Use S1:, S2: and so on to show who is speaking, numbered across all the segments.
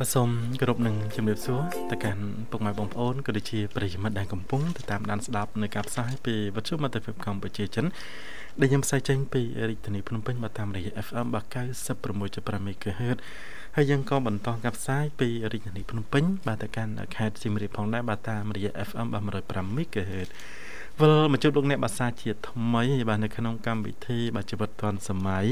S1: គោរពនឹងជំរាបសួរទៅកាន់ពុកម៉ែបងប្អូនក៏ដូចជាប្រិយមិត្តដែលកំពុងតាមដានស្ដាប់នៅការផ្សាយពីវិទ្យុមិត្តភាពកម្ពុជាចិនដែលខ្ញុំផ្សាយចេញពីរាជធានីភ្នំពេញមកតាមរយៈ FM 96.5 MHz ហើយយើងក៏បន្តការផ្សាយពីរាជធានីភ្នំពេញបាទទៅកាន់ខេត្តសៀមរាបផងដែរបាទតាមរយៈ FM 105 MHz វិលមកជួបលោកអ្នកបាសាជាថ្មីបាទនៅក្នុងកម្មវិធីបាទជីវិតឌွန်សម័យ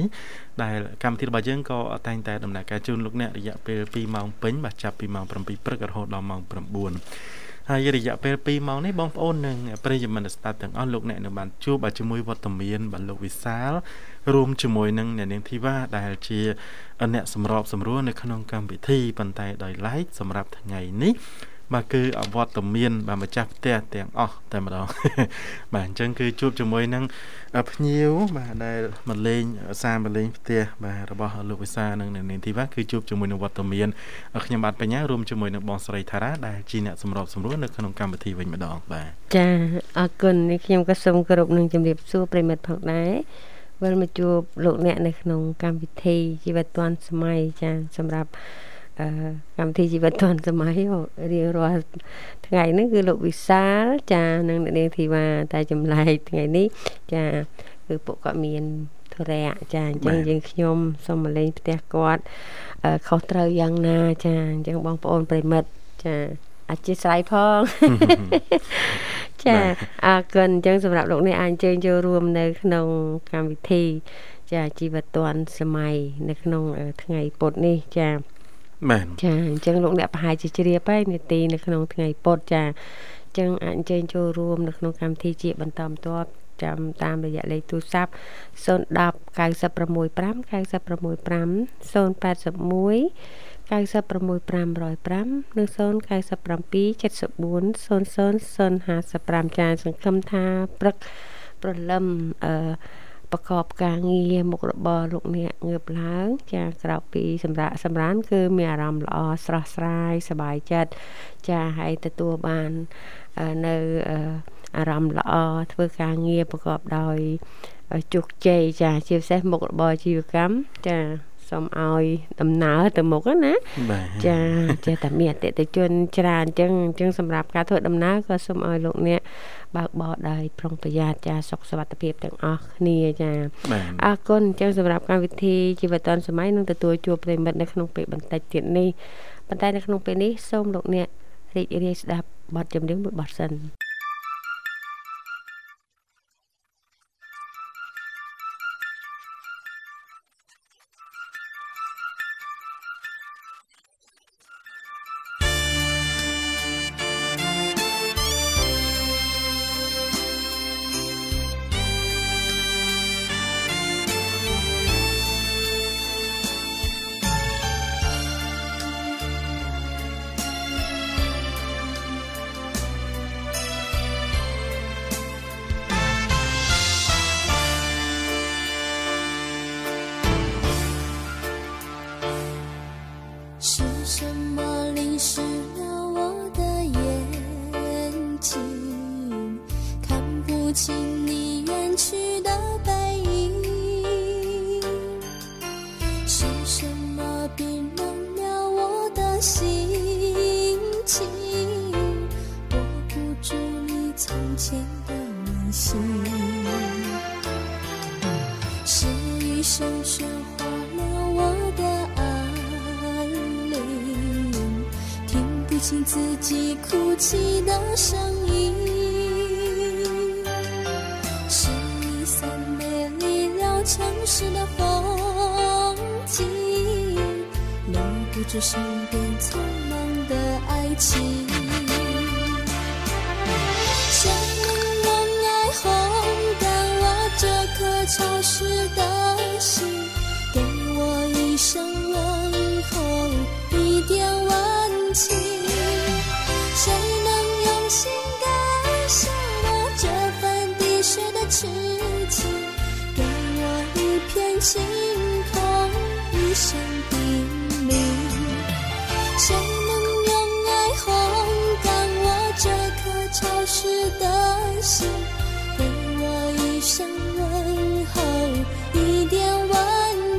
S1: ដែលកម្មវិធីរបស់យើងក៏តែងតែដំណើរការជូនលោកអ្នករយៈពេល2ម៉ោងពេញបាទចាប់ពីម៉ោង7ព្រឹករហូតដល់ម៉ោង9ហើយរយៈពេល2ម៉ោងនេះបងប្អូននិងប្រិយមិត្តស្ដាប់ទាំងអស់លោកអ្នកនៅបានជួបបាទជាមួយវត្តមានបាទលោកវិសាលរួមជាមួយនឹងអ្នកនាងធីវ៉ាដែលជាអ្នកសម្របសម្រួលនៅក្នុងកម្មវិធីប៉ុន្តែដោយឡែកសម្រាប់ថ្ងៃនេះបាទគឺអវត្តមានបាទម្ចាស់ផ្ទះទាំងអស់តែម្ដង បាទអញ្ចឹងគឺជួបជាមួយនឹងភ្ញៀវបាទដែលមកលេងសាមលេងផ្ទះបាទរបស់លោកវិសានិងនាងធីវ៉ាគឺជួបជាមួយនឹងវត្តមានខ្ញុំបាទបញ្ញារួមជាមួយនឹងបងស្រីថារ៉ាដែលជាអ្នកសម្របសម្រួលនៅក្នុងកម្មវិធីវិញម្ដង បាទ
S2: ចាអរគុណនេះខ្ញុំក៏សូមគោរពនឹងជម្រាបសួរប្រិមិត្តផងដែរវិលមកជួបលោកអ្នកនៅក្នុងកម្មវិធីជីវិតឌွန်សម័យចាសម្រាប់កម្មវិធីជីវិតឌွန်សម័យរៀងរាល់ថ្ងៃហ្នឹងគឺលោកវិសាលចានិងអ្នកនាងធីវ៉ាតែចម្លែកថ្ងៃនេះចាគឺពួកគាត់មានធរៈចាអញ្ចឹងយើងខ្ញុំសូមមកលេងផ្ទះគាត់ខុសត្រូវយ៉ាងណាចាអញ្ចឹងបងប្អូនប្រិមិត្តចាអធិស្ឋានផងចាអរគុណអញ្ចឹងសម្រាប់លោកនេះអាចអញ្ជើញចូលរួមនៅក្នុងកម្មវិធី ចាជីវិតឌွန်សម័យនៅក្នុងថ្ងៃពុធនេះចា
S1: បាទ
S2: ចាអញ្ចឹងលោកអ្នកប្រហែលជាជ្រាបហើយនាទីនៅក្នុងថ្ងៃពុតចាអញ្ចឹងអាចអញ្ជើញចូលរួមនៅក្នុងកម្មវិធីជាបន្តបន្ទាប់ចាំតាមរយៈលេខទូរស័ព្ទ010 965 965 081 96505និង097 74 00055ចាសង្ឃឹមថាព្រឹកព្រលឹមអឺប្រកបការងារមុខរបរលោកអ្នកងើបឡើង ចាក្រៅពីសម្រាប់សម្រានគឺមានអារម្មណ៍ល្អស្រស់ស្រាយសบายចិត្តចាហើយទទួលបាននៅអារម្មណ៍ល្អធ្វើការងារប្រកបដោយជោគជ័យចាជាពិសេសមុខរបរជីវកម្មចាសូមឲ្យដំណើរទៅមុខណាចាចេះតែមានអតិថិជនច្រើនអញ្ចឹងអញ្ចឹងសម្រាប់ការធ្វើដំណើរក៏សូមឲ្យលោកអ្នកបើកបរដោយប្រុងប្រយ័ត្នចាសុខសុវត្ថិភាពទាំងអស់គ្នាចាអរគុណអញ្ចឹងសម្រាប់កម្មវិធីជីវិតឌុនសម័យនឹងទទួលជួបប្រិមិត្តនៅក្នុងពេលបន្តិចទៀតនេះប៉ុន្តែនៅក្នុងពេលនេះសូមលោកអ្នករីករាយស្ដាប់បទចម្រៀងមួយបទសិន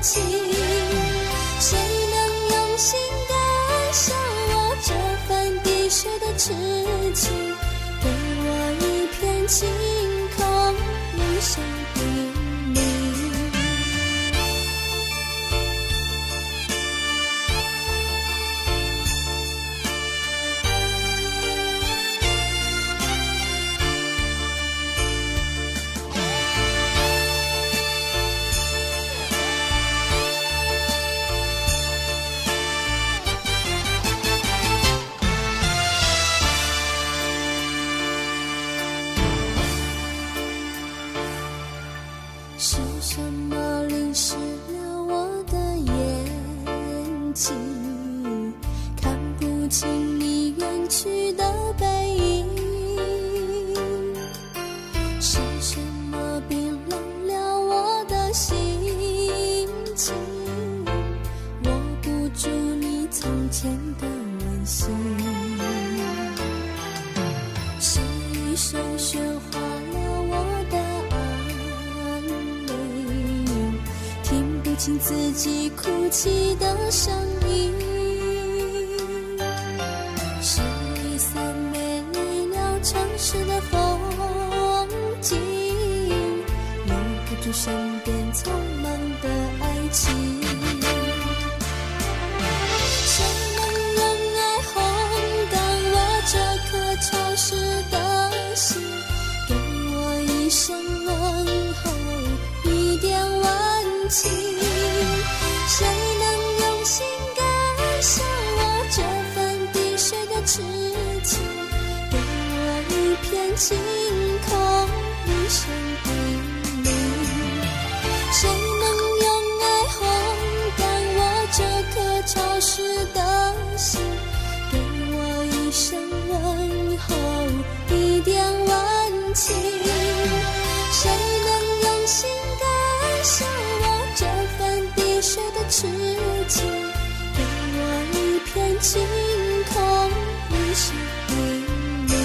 S3: 情，谁能用心感受我？痴情，给我一片晴空，梦想比你。是什么淋湿了我的眼睛？看不清你远去的背影。是什么冰冷了我的心情？握不住你从前的温馨。是一首喧哗了我的安宁，听不清自己哭泣的声音。是一色美丽了城市的风景，留不住身边匆忙的爱情。谁能用爱烘干我这颗潮湿的心？给我一声问候，一点温情。谁能用心感受我这份滴水的痴情？给我一片晴空，一声叮咛。谁能用爱烘干我这颗潮湿的心？给我一声问候，一点温情。谁能用心感受我这份滴水的痴情？给我一片晴空，一声叮咛。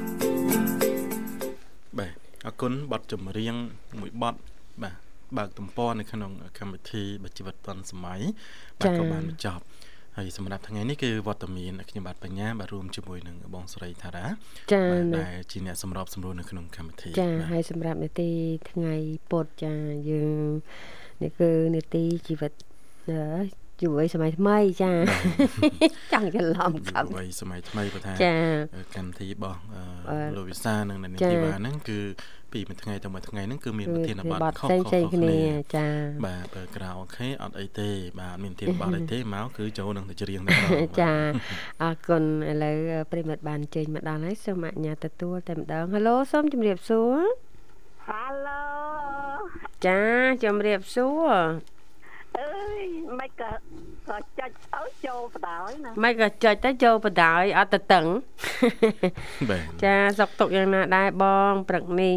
S1: បាទអរគុណប័ណ្ណចម្រៀងមួយប័ណ្ណបាទបើកទំព័រនៅក្នុងកម្មវិធីបជីវិតឌុនសម័យបាទ
S2: ចា៎
S1: ក៏បានបញ្ចប់ហើយសម្រាប់ថ្ងៃនេះគឺវត្តមានខ្ញុំបាទបញ្ញាបាទរួមជាមួយនឹងបងស្រីថារ៉ា
S2: ចា
S1: បាទ
S2: នៅ
S1: ដែលជាអ្នកសម្របសម្រួលនៅក្នុងកម្មវិធី
S2: ចា
S1: បាទ
S2: ហើយសម្រាប់នេតិថ្ងៃពុតចាយើងនេះគឺនេតិជីវិតអឺយុវ័យសម័យថ្មីចា ចង់ច្រឡំ
S1: យុ
S2: កម្ម
S1: វ័យសម័យថ្មីបើថា
S2: ចា
S1: កម្មវិធីរបស់អ
S2: អឺ
S1: ឺលោកវិសានិងអ្នកនាង
S2: ចា៎
S1: ធីវ៉ាហ្នឹងគឺពីមួយថ្ងៃទៅមួយថ្ងៃហ្នឹងគឺមានប្រធានបទខុស
S2: ផ្សេង
S1: ៗ
S2: ផ្សេង
S1: ៗ
S2: គ្នា
S1: គ្នា
S2: ចា
S1: បាទបើក្រៅអូខេអត់អីទេ បាទមានប្រធានបទអីទេមកគឺចូលនឹងទៅច្រៀងទៅដល់ បាទ
S2: ចាអរគុណឥឡូវប្រិមត្តបានចេញមកដល់ហើយសូមអញ្ញាតទទួលតែម្ដងហេឡូសូមជម្រាបសួរ
S4: ហាឡូ
S2: ចាជម្រាបសួរ
S4: អើយមិនក៏ក៏ចាច់អោយចូលបដ ாய் ណា
S2: មិនក៏ចុចទៅចូលបណ្ដោយអត់ទៅតឹង
S1: បាទ
S2: ចាសុខទុក្ខយ៉ាងណាដែរបងព្រឹកនេះ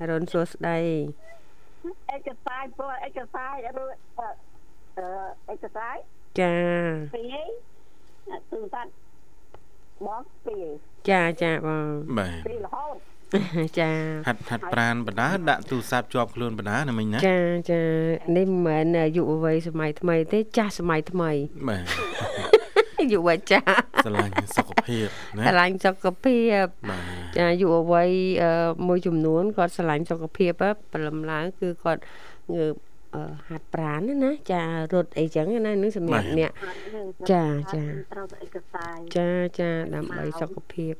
S2: អរុនសួស្ដី
S4: ឯកសារព្រោះឯកសារអឺអឺឯកសារ
S2: ចា
S4: ពីរទូរស័ព្ទបងពីរ
S2: ចាចាបង
S1: បាទ
S4: ពីររហូត
S2: ចា
S1: ហាត់ហាត់ប្រានបណ្ដាដាក់ទូរស័ព្ទជាប់ខ្លួនបណ្ដាណាមិញណា
S2: ចាចានេះមិនមែនយុវវ័យសម័យថ្មីទេចាស់សម័យថ្មី
S1: បាទ
S2: យុវចា
S1: ស្រឡាញ់សុខភាពណា
S2: ស្រឡាញ់សុខភាព
S1: បាទ
S2: ចាយុវវ័យអឺមួយចំនួនគាត់ស្រឡាញ់សុខភាពហ៎ព្រលឹមឡើងគឺគាត់ងើបអឺហាត់ប្រាណណាណាចារត់អីចឹងណានឹងសម្រាប់អ្នក
S4: អត់នឹង
S2: ចាចា
S4: ត្រូវទៅឯកសារ
S2: ចាចាដើម្បីសុខភាព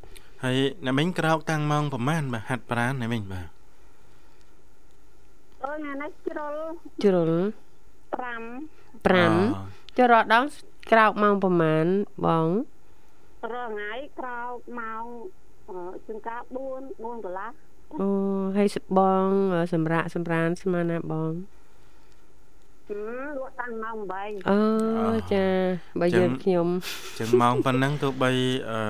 S1: ហើយអ្នកមិញក្រោកតាំងម៉ោងប្រហែលបាទហាត់ប្រានអ្នកមិញបាទ
S4: អូនអានេះជ្រុល
S2: ជ្រុល
S4: 5
S2: 5ចូលរាល់ដងក្រោកម៉ោងប្រហែលបង
S4: រងថ្ងៃក្រោកម៉ោងអឺជាងកា4 4កន្លះ
S2: អូហើយសបងសម្រាកសម្រានស្មានណាបង
S4: ហឹមលក់តាំងម៉ោង8
S2: អូចាបើ
S1: ចឹ
S2: យើង ងខ្ញុំ
S1: ចឹងម៉ោងប៉ុណ្ណឹងទោះបីអឺ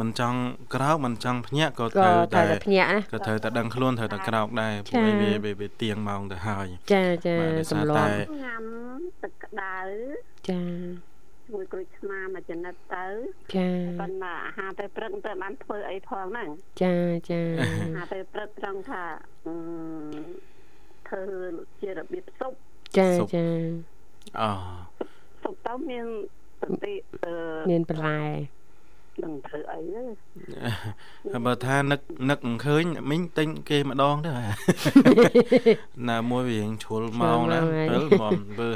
S1: មិនចង់ក្រោកមិនចង់ភ្ញាក់ក៏
S2: ក៏
S1: ត្រូវតែ
S2: ត្រូវតែភ្ញាក់ណា
S1: ក៏ត្រូវតែដឹងខ្លួនត្រូវតែក្រោកដែរ
S2: ចា៎
S1: ព្រោះវាវាវាទៀងម៉ោងទៅហើយ
S2: ចាចា
S1: បាទដោយសារ
S2: សម្ល
S1: តែ
S2: ប់
S4: ញ៉ាំទឹកក្តៅ
S2: ចា
S4: ជាមួយក្រូចឆ្មាមួយចំណិតទៅ
S2: ចា
S4: ប៉ុន្តែអាហារទៅព្រឹកទៅបានធ្វើអីផងហ្នឹង
S2: ចាចា
S4: អាហារទៅព្រឹកត្រង់ថាអឺធ្វើជារបៀបសុប
S2: ចាចា
S1: អូ
S4: សុបទៅមានសតិអឺ
S2: មានបន្លែ
S4: នឹងធ្វើអី
S1: ហ
S4: ទេ
S1: ើយបើថានឹកនឹកមិនឃើញមិញទិញគេម្ដងទៅហ่า ណាមួយវារៀងជ្រុលម៉ោងណាស់
S2: ជ្រុលម៉ោង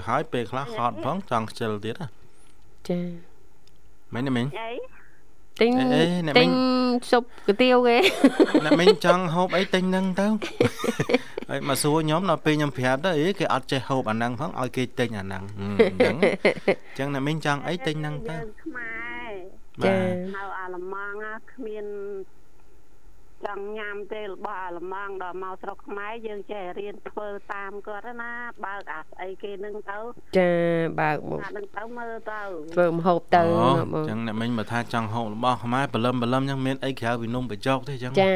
S2: ហើយ
S1: ពេលមកធ្វើហើយពេលខ្លះហត់ផងចង់ខ្ជិលទៀតហ៎
S2: ចា
S1: មិញណាមិញ
S4: អី
S2: ទិញ
S1: អេអេអ្នកមិញ
S2: ទិញស៊ុបគុយទាវ គេ
S1: ណាមិញចង់ហូបអីទិញហ្នឹងទៅ ហើយមកសួរខ្ញុំដល់ពេលខ្ញុំប្រាប់ទៅអីគេអត់ចេះហូបអាហ្នឹងផងឲ្យគេទិញអាហ្នឹងហឹមអញ្ចឹងអញ្ចឹងណាមិញចង់អីទិញហ្នឹងទៅ
S4: យើងខ្មែរ
S1: បា
S2: ចា
S1: ទ
S4: នៅអាឡម៉ង់ណាគ្មានចង់ញ៉ាំទេរបស់អាឡម៉ង់ដល់មកស្រុកខ្មែរយើងចេះរៀនធ្វើតាមគាត់ណា បើកអាស្អីគេនឹងទៅ
S2: ចាបើកមក
S4: អានឹងទៅមើលទៅ
S2: ធ្វើមហូបទៅ
S1: អូ
S2: ណាបង
S1: អញ្ចឹងអ្នកមិញមកថាចង់ហូបរបស់ខ្មែរបលឹមបលឹមអញ្ចឹងមានអីក្រៅពីនំបញ្ចុកទេអញ្ចឹង
S2: ចា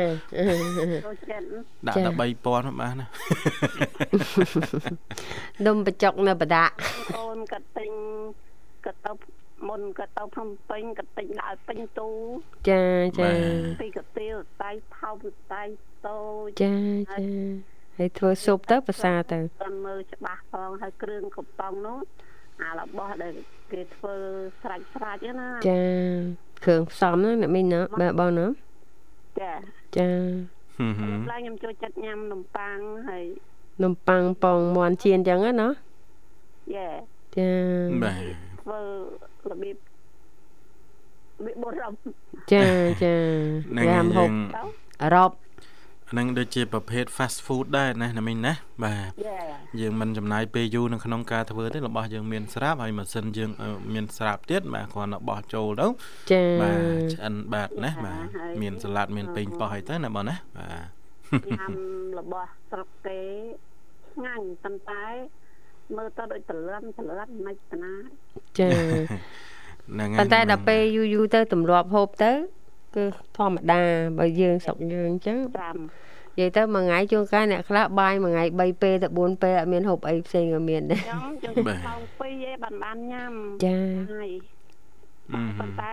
S4: ចូលចិត្ត
S1: ដាក់
S2: ចា
S1: តែ3000បានណា
S2: នំបញ្ចុកនៅប ដាក់
S4: អូនក៏ទិញក៏ទៅមុនក៏ទៅភ្នំពេញក៏ទិញដល់ពេញទូ
S2: ចាចា
S1: បាទ
S4: ពីកាទៀលតៃផោតៃតូច
S2: ចាចាហើយធ្វើស៊ុបទៅប្រសាទៅ
S4: តាមមើលច្បាស់ផងហើយគ្រឿងកំប៉ុងនោះអារបស់ដែលគេធ្វើស្រាច់ស្រាច់ហ្នឹងណា
S2: ចាគ្រឿងផ្សំហ្នឹងអ្នកមីងណាបាទបងណា
S4: ចា
S2: ចា
S1: ហឹមហឹម
S4: ឡើយខ្ញុំចូលចិត្តញ៉ាំនំប៉័ងហើយ
S2: នំប៉័ងប៉ងមន់ជៀនអញ្ចឹងណា
S4: យ៉ា
S2: ចា
S1: បាទ
S4: ធ្វើរបៀបរបៀបបុរំ
S2: ចាចា
S1: ហ្នឹង
S2: យ៉ាមហូ
S1: យើ
S2: ប
S1: ង
S4: ទៅ
S2: អឺរ៉ុប
S1: ហ្នឹងដូចជាប្រភេទ fast food ដែរណាអ្នកមិញណាបាទ
S4: យ៉ា
S1: យើងមិនចំណាយពេលយូរនៅក្នុងការធ្វើទេរបស់យើងមានស្រាប់ហើយម៉ាស៊ីនយើងអឺមានស្រាប់ទៀតបាទគ្រាន់តែបោះចូលទៅ
S2: ចា
S1: បាទឆ្អិនបាទណាបាទមានសាឡាត់មានពេញប៉ោះអីទៅណាបងណាបាទ
S4: ញ៉ាំរបស់ស្រុកគេឆ្ងាញ់ប៉ុន្តែមើលទៅដូចត្រលឹមត្រលឹមមិនខ្មិចណា
S2: ចា
S1: ហ្នឹងហើយ
S2: ប៉ុន្តែដល់ពេលយូរយូរទៅទម្លាប់ហូបទៅគឺធម្មតាបើយើងស្រុកយើងអញ្ចឹង
S4: ចាំ
S2: និយាយទៅមួយថ្ងៃជួនកាលអ្នកខ្លះបាយមួយថ្ងៃ3ពេលទៅ4ពេលអត់មានហូបអីផ្សេងក៏មានដែរ
S4: ខ្ញុំខ្ញុំខំពីរឯងបានបានញ៉ាំ
S2: ចា
S4: ហើយ
S1: អឺហឹ
S4: ប៉ុ
S1: ម
S4: ន្តែ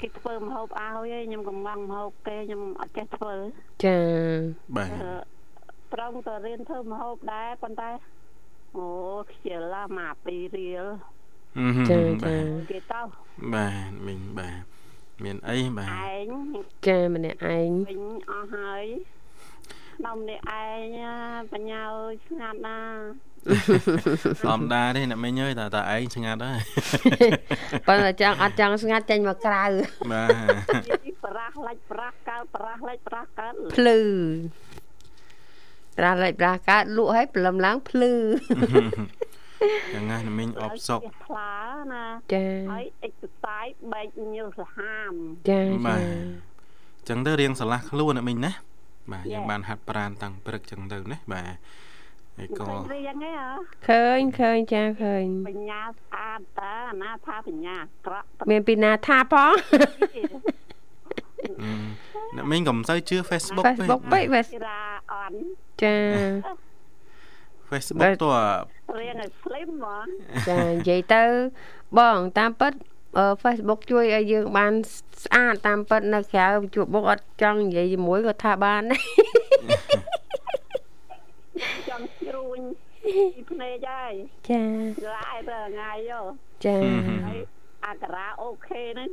S4: គេធ្វើម្ហូបឲ្យឯងខ្ញុំកំងម្ហូបគេខ្ញុំអត់ចេះធ្វើ
S2: ចា
S1: បាទ
S4: អឺប្រឹងទៅរៀនធ្វើម្ហូបដែរប៉ុន្តែអូខ្ជិលឡាមកពីរៀល
S1: អឺហឹម
S2: ចា
S1: បា
S2: ចា
S1: ទ
S4: គេទៅ
S1: បាទមិញបាទមានអីបាទ
S4: ឯង
S2: ចាម្នាក់ឯង
S4: វិញអស់ហើយក្នុងនេះឯងណាបញ្ញាអើយស្ងាត់ណា
S1: ធម្មតាទេអ្នកមិញអើយតែតែឯងឆ្ងាត់ហើយ
S2: ប៉ុន្តែចង់អត់ចង់ស្ងាត់ចេញមកក្រៅ
S1: បាទ
S4: ពីប្រាស់លាច់ប្រាស់កើតប្រាស់លាច់ប្រាស់កើត
S2: ភ្លឺប្រាស់លេចប្រាស់កើតលក់ឲ្យព្រលឹមឡើងភ្លឺ
S1: យ៉ាងណាអ្នកមិញអបសុក
S4: ហើយផ្លាណា
S2: ចា
S4: ហើយអិចសាយបែកញើសល្ហាម
S2: ចា
S1: បា
S2: ចា
S1: ទអញ្ចឹងទៅរៀងឆ្លាស់ខ្លួនណាមិញណាបាទយើងបានហាត់ប្រានតាំងព្រឹកអញ្ចឹងទៅណាបាទហើយក៏
S4: មិនរៀងទេហ៎
S2: ឃើញឃើញចាឃើញ
S4: បញ្ញាស្អាតតើអាណាថាបញ្ញាអាក្រក់ប៉ុណ្ណ
S2: មានពីណាថាផង
S4: េះ
S1: អឺអ្នកមិញក៏មិនសូវជឿ Facebook ទេ
S2: Facebook ពេកវ៉េ
S4: ទីរាអន់
S2: ចា
S1: Facebook តើ
S4: រៀងឲ្យស្លីមហ្មង
S2: ចានិយាយទៅបងតាមពិតអឺ Facebook ជួយឲ្យយើងបានស្អាតតាមពិតនៅក្រៅជួបបុកអត់ចង់និយាយជាមួយក៏ថាបាន ដែរ
S4: ចង់ជ្រួញពីភ្នែកហើយ
S2: ចា
S4: រ៉ាយទៅថ្ងៃយោ
S2: ចា
S4: ហើយអាការៈអូខេហ្នឹង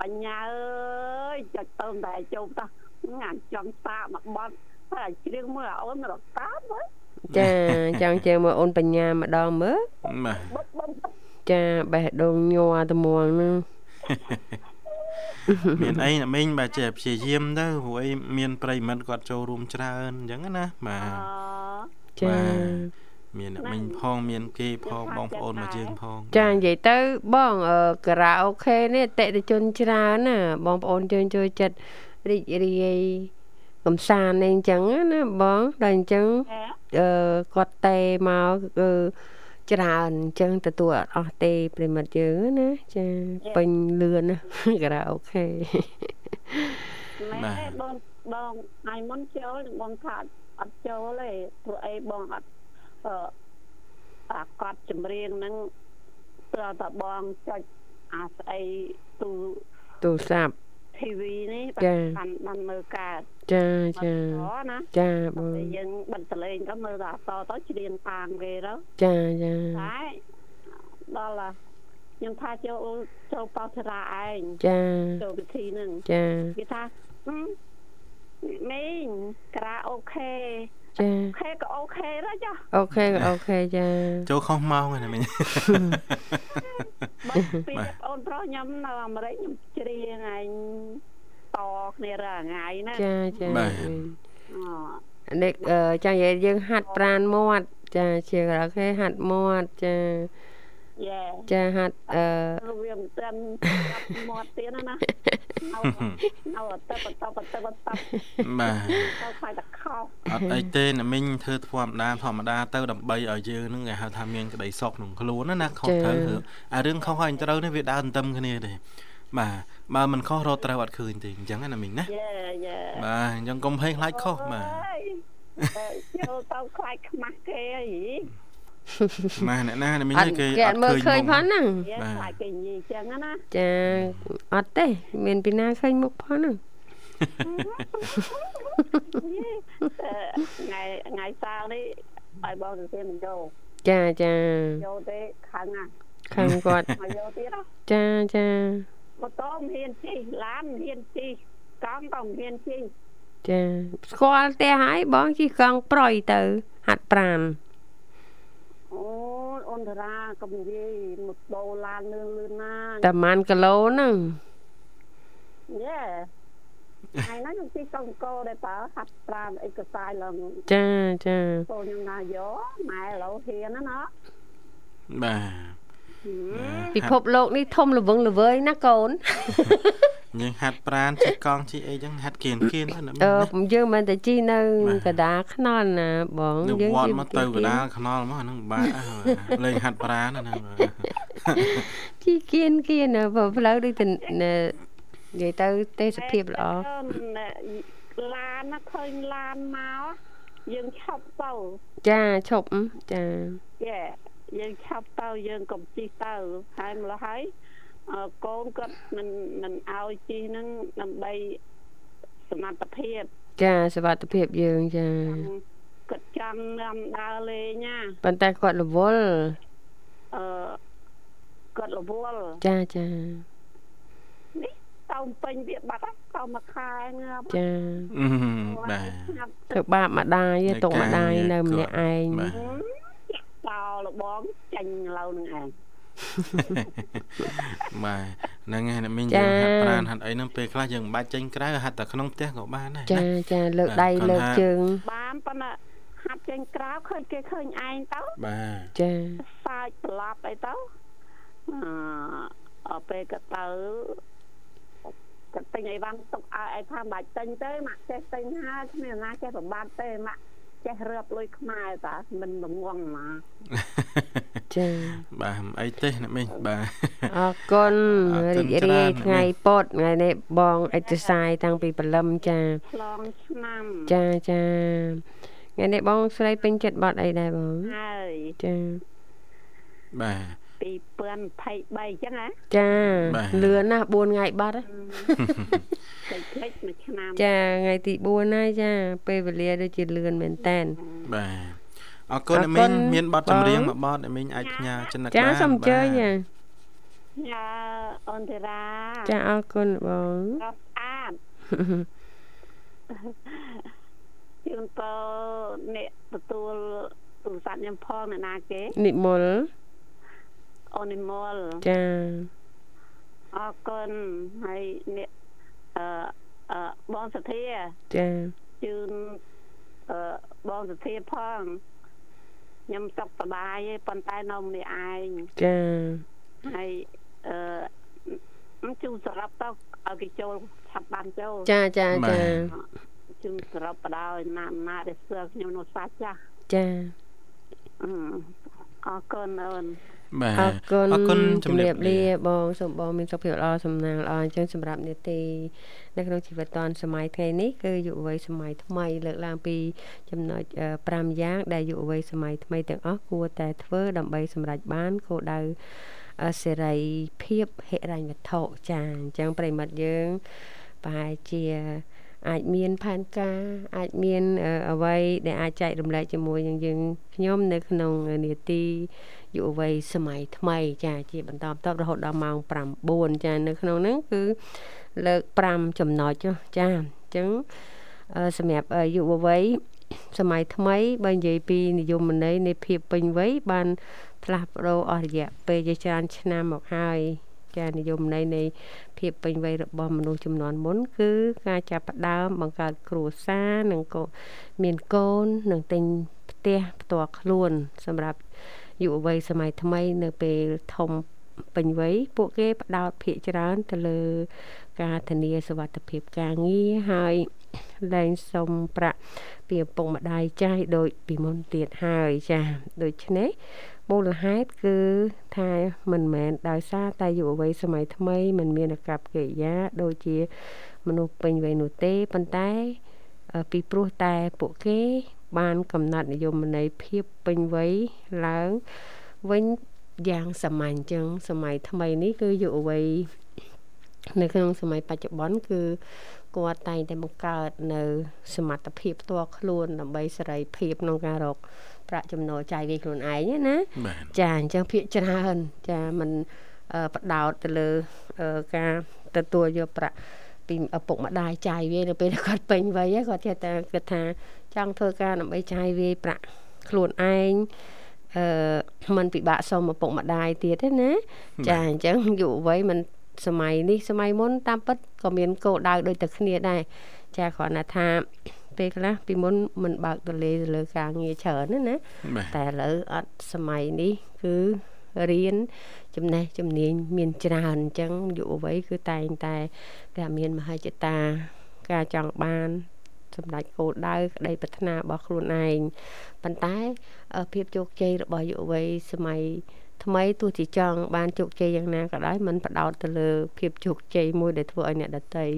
S4: បញ្ញាអើយចុចទៅតែជុំតោះងានចង់សាកមកបត់តែជ្រៀងមើលអូនរកតាមហ៎
S2: ចាចង់ជើងមើលអូនបញ្ញាម្ដងមើល
S1: បាទ
S4: បុកបុក
S2: ចាបេះដូងញ័រត្មងហ្នឹង
S1: មានអីអ្នកមិញបាទចេះព្យាយាមទៅព្រោះអីមានប្រិយមិត្តគាត់ចូលរួមច្រើនអញ្ចឹងណាបាទ
S4: អ
S2: ចា
S1: មានអ្នកមិញផងមានគេផងបងប្អូនមកយើងផង
S2: ចានិយាយទៅបងអឺការ៉ាអូខេនេះអតិថិជនច្រើនណាបងប្អូនយើងចូលចិត្តរីករាយកំសាន្តអីអញ្ចឹងណាបងដល់អញ្ចឹង អឺគាត់តេមកគឺច្រើនអញ្ចឹងទទួលអត់អស់ទេប្រិមិត្តយើងណាចាពេញលឿន ណា ការ៉ាអូខេ
S4: មែនទេបងបងថ្ងៃមុនចូលបងថាអត់ចូលទេព្រោះអីបងអត់អឺអាកត់ចម្រៀងហ្នឹងព្រោះតែបងចុចអាស្អីទូ
S2: ទូរស័ព្ទ
S4: TV នេះ
S2: ចា
S4: បានបានបានមើលកើត
S2: ចា
S4: បា
S2: ចា
S4: ត់ព្រោះណា
S2: ចាប
S4: តែ
S2: ង
S4: យើងបិទតលេងទៅមើលតែអសរទៅច្រៀងតាមគេទៅ
S2: ចាចា
S4: តែដល់ឡាខ្ញុំថាចូលចូលប៉ោសារាឯង
S2: ចា
S4: ចូលពិធីហ្នឹង
S2: ចា
S4: គេថាហឹមមីងក្រាអូខេ
S2: ចា
S4: អូខេក៏អូខេដែរចុះ
S2: អូខេអូខេចា
S1: ចូលខុសម៉ោងហើយណាមិញ
S4: បើពី
S1: បាទ
S4: ប្អូនប្រុសខ្ញុំនៅអាមេរិកខ្ញុំច្រៀងឯងតគ្នារាល់ថ្ងៃណា
S2: ចាចា
S1: បាទ
S4: អូ
S2: នេះអឺចានិយាយយើងហាត់ប្រានមាត់ចាជាការ៉ាអូខេហាត់មាត់ចា
S4: យេ
S2: ចាហាត់អឺ
S4: រវាងត្រឹមចាប់មាត់ទៀត ណាណានៅនៅតែបន្តបន្តបន្ត
S1: បាទ
S4: ទៅខ្វាយតែខោ
S1: អត់អីទេណាមិញធ្វើធម្មតាធម្មតាទៅដើម្បីឲ្យយើងហ្នឹងគេហៅថាមានក្តីសុខក្នុងខ្លួនណាណាខុស
S2: ចា៎
S1: ត្រូវរឿងអារឿងខុសហើយត្រូវនេះវាដើរទន្ទឹមគ្នាទេបាទបើមិនខុសរត់ត្រូវអត់ឃើញទេអញ្ចឹងណាមិញណា
S4: យេយេ
S1: បាទអញ្ចឹងកុំភ័យខ្លាចខុសបាទ
S4: ចូលទៅខ្លាចខ្មាស់គេអី
S1: ម៉ែអ្នកណាអ្នកមីង
S2: អត់
S1: គេ
S2: គេអត់មើលឃើញ
S1: មុ
S2: ផ
S1: ខ
S2: នហ្នឹង
S4: យើ
S1: បាទ
S4: ខ្លាចគេនិយាយចឹងណា
S2: ចាអត់ទេ មានពីណាឃើញមុខផនហ្នឹង
S4: អឺថ្ងៃថ្ងៃសៅរ៍នេះឲ្យបងទៅទៀតមិនចូល
S2: ចាចា
S4: ចូលទេខាងណា
S2: ខាងគាត់
S4: មកយកទៀតណា
S2: ចាចា
S4: ម៉ូតូមិនហ៊ានជិះឡានមិនហ៊ានជិះកង់ក៏មិនហ៊ានជិះ
S2: ចាស្គាល់ទេហើយបងជិះកង់ប្រយទៅ ហាត់ប្រាន
S4: អូនអូនតារាក៏និយាយម៉ូតូឡានលឿនលឿនណា
S2: តាម៉ានគីឡូហ្នឹង
S4: យេថ្ងៃហ្នឹងខ្ញុំជិះកង់កោដែរតើហាត់ប្រានអីក៏ស្អាយឡើង
S2: ចាចា
S4: កូនខ្ញុំណាយកម៉ែឥឡូវហ៊ានណាណា
S1: បាទ
S2: ពិភពលោកនេះធំល្វឹងល្វើយណាកូន
S1: យើងហាត់ប្រានជិះកង់ជិះអីចឹងហាត់គៀនគៀនទៅអ្នកមី
S2: អ
S1: ង
S2: ឺយើងមិនតែជិះនៅកណ្ដាលខ្នល់ណាបង
S1: ណា
S2: យើង
S1: វត្ត
S2: ជិះ
S1: មកទៅកណ្ដាលខ្នល់មកអាហ្នឹងបាទអើលេងហាត់ប្រានណាហ្នឹងបាទ
S2: ជិះគៀនគៀនណាព្រោះផ្លូវដូចតែនិយាយទៅទេសភាពល្អ
S4: ឡានណាឃើញឡានមកយើងឆប់ទៅ
S2: ចាឈប់ចា
S4: យេយើងឆប់ទៅយើងកុំជិះទៅហើតម្ល៉េះហើយកូនគាត់មិនមិនឲ្យជិះហ្នឹងដើម្បីសមត្ថភាព
S2: ចាសុវត្ថិភាពយើងចា
S4: គាត់ចង់នាំដើរលេងណា
S2: ប៉ុន្តែគាត់រវល់
S4: អឺគាត់រវល់
S2: ចាចា
S4: នេះតោពេញវាបាត់ហើយតោមួយខែហ្នឹង
S2: ចា
S1: អឺបាទ
S2: ទៅបាបម្ដាយ
S1: នៃ
S2: ទុក
S1: ការ
S2: ម្ដាយ
S1: ងារ
S2: នៅម្នាក់
S1: គាត់
S2: ឯង
S1: បាទ
S4: តោលបងចាញ់ឡូវនឹងឯង
S1: បាទហ្នឹងហើយអ្នកមីងយើងហាត់ប្រានហាត់អីហ្នឹងពេលខ្លះយើងមិនបាច់ចេញក្រៅហាត់តែក្នុងផ្ទះក៏បានដែរ
S2: ចា
S1: ណា
S2: ចាលើក
S1: បាទ
S2: ដៃ
S1: គាត់
S2: លើក
S1: ថា
S2: ជើង
S4: បានប៉ុន្តែហាត់ចេញក្រៅឃើញគេឃើញឯងទៅ
S1: បាទ
S2: ចា
S4: សើចប្រឡប់អីទៅអឺអត់ពេលក៏ទៅក៏ទិញអីវ៉ាន់ទុកឲ្យឯងថាមិនបាច់ទិញទេម៉ាក់ចេះទិញហើយគ្មានអ្នកណាចេះប្របាត់ទេម៉ាក់ចេះរើបលុយខ្មែរតាមិនងងណា
S2: ចា
S1: បាទមិនអីទេអ្នកមីងបាទ
S2: អរគុណ
S1: អរគុ
S2: រី
S1: ណ
S2: ករាយ
S1: ច្រើន
S2: ថ្ងៃពុតថ្ងៃនេះបងអេកសសាយតាំងពីព្រលឹមចា
S4: ឆ្លងឆ្នាំ
S2: ចាចាថ្ងៃនេះបងស្រីពេញចិត្តបត់អីដែរបង
S4: ហើយ
S2: ចា
S1: បាទ
S4: 2023អញ្ចឹងណា
S2: ចា
S1: បាទ
S2: លឿនណាស់4ថ្ងៃបត់ហើយ
S4: តែភ្លេចមួយឆ្នាំ
S2: ចាថ្ងៃទី4ហើយចា ពេលវេលាដូចជាលឿនមែនតែន
S1: បាទអរគុណ
S2: អរ
S1: អ្នក
S2: គុ
S1: មីង
S2: ណ
S1: មានបទ
S2: បង
S1: ចម្រៀងមួយបទអ្នកមីងអាចផ្ញើចិន
S2: ចា
S1: បាន
S2: សូមអញ្ជើញ
S1: បាទ
S2: ចា
S4: យ៉ាអូនតារា
S2: ចាអរគុណបង
S4: ស្រស់ស្អាតជូនពរអ្នកទទួលទូរស័ព្ទខ្ញុំផងអ្នកណាគេ
S2: និមល
S4: អូនិមល
S2: ចា
S4: អរគុណហើយអ្នកអឺអឺបងសទ្ធា
S2: ចា
S4: ជូនអឺបងសទ្ធាផង ខ្ញុំសុខសប្បាយទេប៉ុន្តែនៅម្នាក់ឯង
S2: ចា
S4: ហើយអឺជូនសរុបទៅឲ្យគេចូលឆាប់បានចូល
S2: ចាចា
S1: បាទ
S2: ចា
S4: ជូនសរុបបដឲ្យណាស់ណាស់ដែលស្គាល់ខ្ញុំនោះសាច់ចាស់
S2: ចា
S4: អឺអរគុណអូន
S1: បាទ
S2: អរគុណ
S1: អរគុណជំ
S2: ជំរា
S1: រា
S2: ប
S1: ប
S2: លា
S1: លា
S2: បងសូមបងមានសុខភាពល្អសំណាងល្អអញ្ចឹងសម្រាប់នេតិនៅក្នុងជីវិតតនសម័យថ្ងៃនេះគឺយុវវ័យសម័យថ្មីលើកឡើងពីចំណុច5យ៉ាងដែលយុវវ័យសម័យថ្មីទាំងអស់គួរតែធ្វើដើម្បីសម្រេចបានគោលដៅអឺសេរីភាពហិរញ្ញវត្ថុចាអញ្ចឹងប្រិមិត្តយើងប្រហែលជា អាចមានផែនការអាចមានអឺអ្វីដែលអាចចែករំលែកជាមួយនឹងយើងខ្ញុំនៅក្នុងនេតិយុវវ័យសម័យថ្មីចាជាបន្តបន្ទាប់រហូតដល់ម៉ោង9ចានៅក្នុងហ្នឹងគឺលើក5ចំណុចចុះចាអញ្ចឹងអឺសម្រាប់អឺយុវវ័យសម័យថ្មីបើនិយាយពីនិយមន័យនៃភាពពេញវ័យបានផ្លាស់ប្ដូរអស់រយៈពេលជាច្រើនឆ្នាំមកហើយចានិយមន័យនៃ ភាពពេញវ័យរបស់មនុស្សចំនួនមុន គឺការចាប់ផ្ដើមបង្កើតគ្រួសារនិងកូនមានកូននិងទិញផ្ទះផ្ទាល់ខ្លួន សម្រាប់យុវវ័យសម័យថ្មីនៅពេលធំពេញវ័យពួកគេផ្ដោតភាកច្រើនទៅលើ ការធានាសុវត្ថិភាពការងារហើយលែងសុំប្រាក់ពីឪពុកម្ដាយចាយដូចពីមុនទៀតហើយចាដូច្នេះ មូលហេតុគឺថាមិនមែនដោយសារតែយុវវ័យសម័យថ្មីមិនមានអាកប្បកិរិយាដូចជាមនុស្សពេញវ័យនោះទេប៉ុន្តែអឺពីព្រោះតែពួកគេ បានកំណត់និយមន័យភាពពេញវ័យឡើងវិញយ៉ាងសាមញ្ញអញ្ចឹងសម័យថ្មីនេះគឺយុវវ័យនៅក្នុងសម័យបច្ចុប្បន្នគឺគាត់តែងតែបង្កើតនៅសមត្ថភាពផ្ទាល់ខ្លួនដើម្បីសេរីភាពក្នុងការរកប្រាក់ចំណូលចាយវាយខ្លួនឯងណា
S1: បាទ
S2: ចាអញ្ចឹងភាកច្រើនចាมันអឺផ្ដោតទៅលើអឺការទទួលយកប្រាក់ពីឪពុកម្ដាយចាយវាយនៅពេលដែលគាត់ពេញវ័យហ្នឹងគាត់ចេះតែគិតថាចង់ធ្វើការដើម្បីចាយវាយប្រាក់ខ្លួនឯងអឺมันពិបាកសុំឪពុកម្ដាយទៀតទេណាចាអញ្ចឹង យុវវ័យมันសម័យនេះសម័យមុនតាមពិតក៏មានគោលដៅដូចតែគ្នាដែរចាគ្រាន់តែថាពេលខ្លះពីមុនมันបើកទលេទៅលើការងារច្រើនណាណា
S1: បាទ
S2: តែឥឡូវអត់សម័យនេះគឺរៀនចំណេះជំនាញមានច្រើនអញ្ចឹងយុវវ័យគឺតែងតែគេមានមហិច្ឆតា ការចង់បានសម្ដេចគោលដៅក្តីប្រាថ្នារបស់ខ្លួនឯងប៉ុន្តែអឺភាពជោគជ័យរបស់យុវវ័យសម័យថ្មីទោះជាចង់បានជោគជ័យយ៉ាងណាក៏ដោយมันផ្ដោតទៅលើភាពជោគជ័យមួយដែលធ្វើឲ្យអ្នកដតី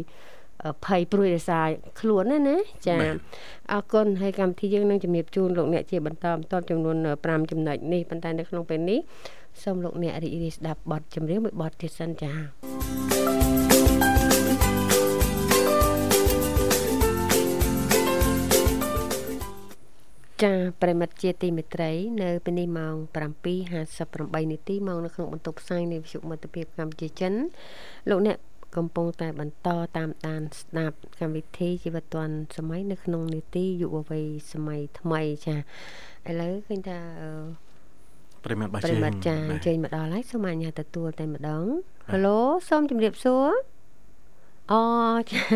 S2: អឺភ័យព្រួយរសារខ្លួនណាណាចា៎ អរគុណហើយកម្មវិធីយើងនឹងជម្រាបជូនលោកអ្នកជាបន្តបន្ទាប់ចំនួន5ចំណុចនេះប៉ុន្តែនៅក្នុងពេលនេះសូមលោកអ្នករីករាយស្ដាប់បទចម្រៀងមួយបទទៀតសិនចា៎ចាប្រិមិត្តជាទីមេត្រី នៅពេលនេះម៉ោង7:58នាទីមកនៅក្នុងបន្ទប់ផ្សាយនៃវិទ្យុមិត្តភាពកម្ពុជាចិន លោកអ្នកកំពុងតែបន្តតាមដានស្ដាប់កម្មវិធីជីវិតឌွန်សម័យនៅក្នុងនីតិយុវវ័យសម័យថ្មីចាឥឡូវឃើញថាអឺ
S1: ប្រិមត្តបាទ
S2: ប្រិមត្តចាអ
S1: បាទ
S2: ញ្ជើញមកដល់ហើយសូមអនុញ្ញាតទទួលតែម្ដង
S1: បាទ
S2: ហេឡូសូមជម្រាបសួរអូចា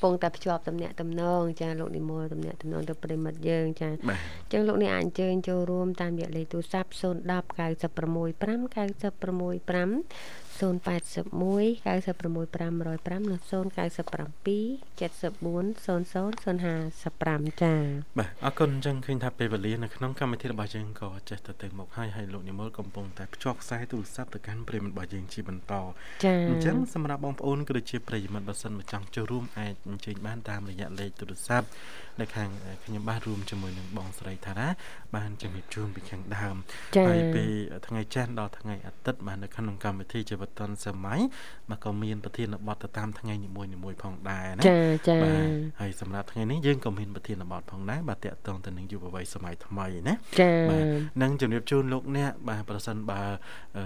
S2: កំពុងតែភ្ជាប់តំណែងតំណងចាលោកនិមលតំណែងតំណងទៅប្រិមត្តយើងចា
S1: បាទ
S2: អញ្ចឹងលោកអ្នកអាចអញ្ជើញចូលរួមតាមរយៈលេខទូរស័ព្ទ010 965 965 081 965 105និង097 7400055ចា
S1: បាទអរគុណអញ្ចឹងឃើញថាពេលវេលានៅក្នុងកម្មវិធីរបស់យើងក៏ចេះទៅទៅមកហើយហើយលោកនិមលកំពុងតែភ្ជាប់ខ្សែទូរស័ព្ទទៅកាន់ប្រិមត្តរបស់យើងជាបន្ត
S2: ៎ចា
S1: អញ្ចឹងសម្រាប់បងប្អូនក៏ដូចជាប្រិយមិត្តបើសិនមកចង់ចូលរួមអាចអញ្ជើញបានតាមរយៈលេខទូរស័ព្ទនៅខាងអឺខ្ញុំបាទរួមជាមួយនឹងបងស្រីថារ៉ាបានជំរាបជូនពីខាងដើម
S2: ចា
S1: ហើយពីថ្ងៃច័ន្ទដល់ថ្ងៃអាទិត្យបាននៅក្នុងកម្មវិធីជីវិតឌុនសម័យមកក៏មានប្រធានបទទៅតាមថ្ងៃនីមួយៗផងដែរណា
S2: ចាចា
S1: បាទហើយសម្រាប់ថ្ងៃនេះយើងក៏មានប្រធានបទផងដែរបាទតកតងទៅនឹងយុវវ័យសម័យថ្មីណា
S2: ចា
S1: បាទនឹងជំរាបជូនលោកអ្នកបាទប្រសិនបើអឺ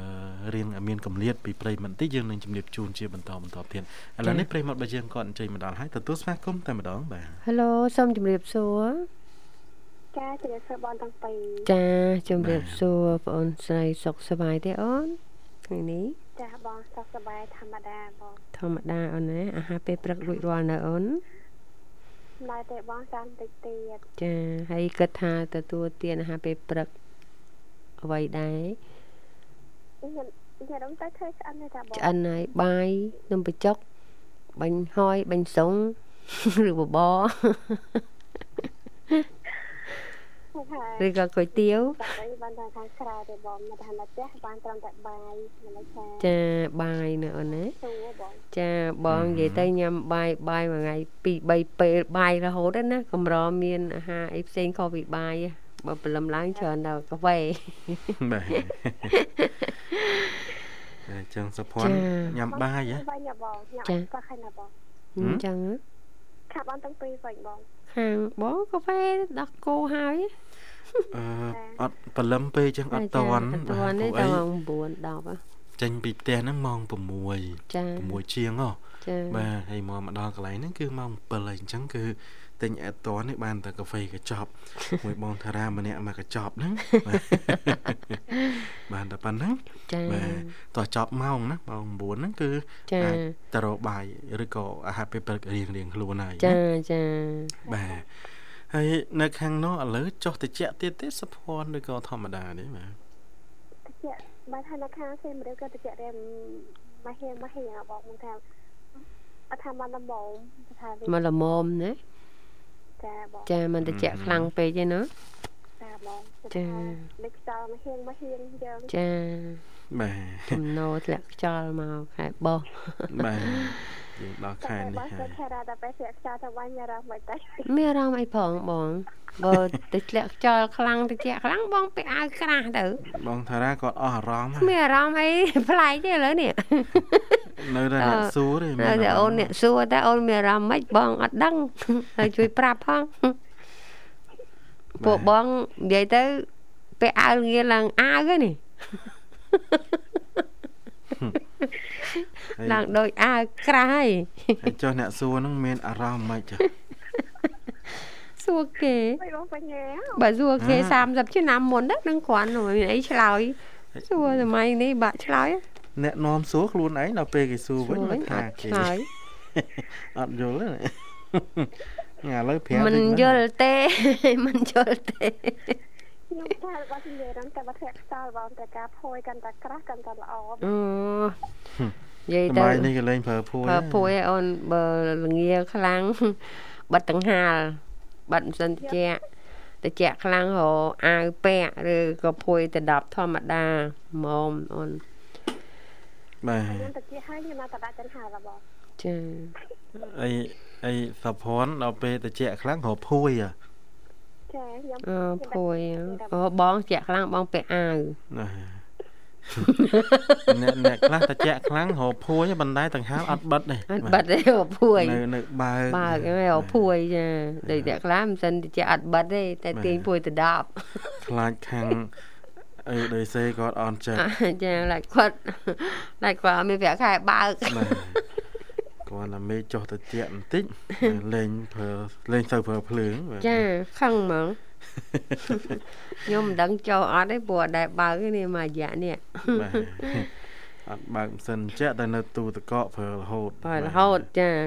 S1: រៀងមានកម្លាតពីប្រិយមត្តទីយើងនឹងជំរាបជូនជាបន្តបន្តទៀតឥឡូវនេះប្រិយមត្តរបស់យើងក៏អញ្ជើញមកដល់ហើយទទួលស្វាគមន៍តែម្ដងបាទ
S2: Hello សូមជម្រាបសួរ
S5: ចាជម្រាបសួរបងទាំងពីរ
S2: ចាជម្រាប
S1: បាទ
S2: សួរបងអូនស្រីសុខសប្បាយទេអូនថ្ងៃនេះ
S5: ចាបងសុខសប្បាយធម្មតាបង
S2: ធម្មតាអូនណាអាហារពេលព្រឹករួចរាល់នៅអូន
S5: ឡើយទេបងចាំតិចទៀត
S2: ចាហើយគិតថាទទួលទានអាហារពេលព្រឹកអ្វីដែរ
S5: ខ្ញុំខ្ញុំរំទៅឃើញឆ្អិនទេតាបង
S2: ឆ្អិនហើយបាយនំបញ្ចុកបាញ់ហយបាញ់សុង ឬបប
S5: ហើយ
S2: រឬក៏គុយទាវ
S5: តែបានតែខាងក្រៅទេបងមកតាមផ្ទះបានត្រឹមតែបាយមិនដឹងថា
S2: ចាបាយណាអូនណា
S5: ទូបង
S2: ចាបងនិយាយទៅញ៉ាំបាយបាយមួយថ្ងៃ2 3ពេលបាយរហូតហ្នឹងណាកម្រមានអាហារអីផ្សេងខុសពីបាយទេបើព្រលឹមឡើងច្រើនដល់កាហ្វេ
S1: បាទអញ្ចឹងសុភ័ណ្ឌ
S2: ចា
S1: ញ៉ាំបាយហ៎
S5: វិញណាបងញ៉ាំ
S2: ចា
S5: ក៏ខាញ់ណាបង
S1: ហឹ
S2: អ
S1: ម
S2: ញ្ចឹងហ៎
S5: ខាប់បានទាំងពីរវិញបង
S2: ខាងបងកាហ្វេដល់គោហើយ
S1: អឺអត់ព្រលឹមពេកអញ្ចឹងអត់តន់
S2: អត់តាន់ទេ
S1: បាទព្រោះអី
S2: ដល់9 10ហ៎
S1: ចេញពីផ្ទះហ្នឹងម៉ោង6
S2: ចា
S1: 6ជាងហ៎
S2: ចា
S1: បាទហើយមកមកដល់កន្លែងហ្នឹងគឺម៉ោង7ហើយអញ្ចឹងគឺទិញអត់តន់នេះបានតែកាហ្វេកញ្ចប់ មួយបងតារាម្នាក់មកកញ្ចប់ហ្នឹង បាទបានតែប៉ុណ្ណឹង
S2: ចា
S1: បាទតោះចប់ម៉ោងណាម៉ោង9ហ្នឹងគឺ
S2: ចា
S1: អាចទៅរកបាយឬក៏អាហារពេលព្រឹករៀងរៀងខ្លួនហើយណា
S2: ចាចា
S1: បាទហើយនៅខាងនោះឥឡូវចុះតិចទៀតទេសភ័នឬក៏ធម្មតានេះបាទ
S5: តិចបើថានៅខាងសេមរាវក៏តិចរែមមកហៀមកហៀបងមកថាអត់ថាបានដំបងថាវិញ
S2: មកល្មមណា
S5: ចាបង
S2: ចាមិនតិចខ្លាំងពេកទេណា
S5: ចាបង
S2: ចា
S5: មិនខ្យល់មកហៀមកហៀយើង
S2: ចា
S1: បាទ
S2: ចំណោធ្លាក់ខ្យល់មកខែបោះ
S1: បាទយើងដល់ខែនេះ
S5: បង
S1: ហើយ
S5: ខារ៉ាដល់ពេលស្រាក់ខ្យល់ទៅវិញរ៉ាមិនតែ
S2: មានអារម្មណ៍អីផងបងបើតិចធ្លាក់ខ្យល់ខ្លាំងតិចខ្លាំងបងពាក់អាវក្រាស់ទៅ
S1: បងតារាគាត់អស់អារម្មណ៍ហើយ
S2: មានអារម្មណ៍អី ប្លែកទេឥឡូវនេះ
S1: នៅតែអ្នកសួរទេ
S2: តែ
S1: អារម្មណ៍
S2: តែអូនអ្នកសួរតែអូនមានអារម្មណ៍ម៉េចបងអត់ដឹង ហើយជួយប្រាប់ផងពួកបងនិយាយទៅពាក់អាវងារឡើងអាវហ្នឹងនេះ
S1: ហើយ
S2: ឡើងដូចអាវក្រាស់ហើយ
S1: ហើយចុះអ្នកសួរហ្នឹងមានអារម្មណ៍មិនចា
S2: សួរគេ
S5: មិនបងបញ្ញា
S2: បើសួរគេ
S1: ហ៎
S2: 30ឆ្នាំមុនហ្នឹងគ្រាន់តែមានអីឆ្លើយសួរសម័យនេះបាក់ឆ្លើយ
S1: អ្នកនាំសួរខ្លួនឯងដល់ពេលគេសួរ
S2: សួ
S1: វិញ
S2: រ
S1: មិន
S2: អ
S1: ថា
S2: ត់
S1: គេ
S2: ឆ្លើយ
S1: អត់យល់ ទេណា ឥឡូវប្រាប់
S2: មិន
S1: តិច
S2: យល់ទេ មិនយល់ទេ
S5: ខ្ញុំថារបស់និយាយរំតែបើធ្លាក់ខ្យល់បងតែការភួយកាន់តែក្រាស់កាន់តែល្អ
S2: អូនិយាយ
S1: ស
S2: ទៅ
S1: ម័យនេះគេលេងប្រើភួយ
S2: បើពួយឲ្យអូនបើលងាខ្លាំង បាត់ដង្ហាលបាត់មិនសិនតិចតិចខ្លាំងរកអាវពាក់ឬក៏ភួយទៅដប់ធម្មតាម៉មអូន
S1: បាទ
S5: ខ្ញុំទៅជាឲ្យខ្ញុំមកតដាក់ចិនហើយបង
S2: ចា
S1: អីអីសភ័នដល់ពេលតិចខ្លាំងរកភួយ ហ៎
S5: ចាខ្ញុំ
S2: អឺភួយអូបងជាក់ខ្លាំងបងពាក់អាវ
S1: ណាអ្នកអ្នកខ្លះតិចខ្លាំងរកភួយប៉ុន្តែដង្ហើមអត់បិទទេ
S2: អត់បាត់ទេអូភួយ
S1: នៅនៅបើក
S2: បើកហើយអូភួយចាដូចតែខ្លាំងមិនសិនតិចអត់បាត់ទេតែទាញភួយទៅដប់
S1: ខ្លាចខាងអីដីសេគាត់អន់ចិត្ត
S2: ចាឡាច់គាត់ឡាច់គាត់អត់មានប្រាក់ខែបើ
S1: បា
S2: ក
S1: ទគាត់ឡាមេចុះតិចបន្តិចលេងប្រើលេងទៅប្រើភ្លើងបាទ
S2: ចាខឹងហ្មង ខ្ញុំមិនដឹងចូលអត់ទេព្រោះអត់ដែលបើកទេនេះមួយរយៈនេះ
S1: បាទអត់បើកមិនសិនចេះតែនៅទូទឹកកកប្រើរហូត
S2: បើរហូតចា
S1: បា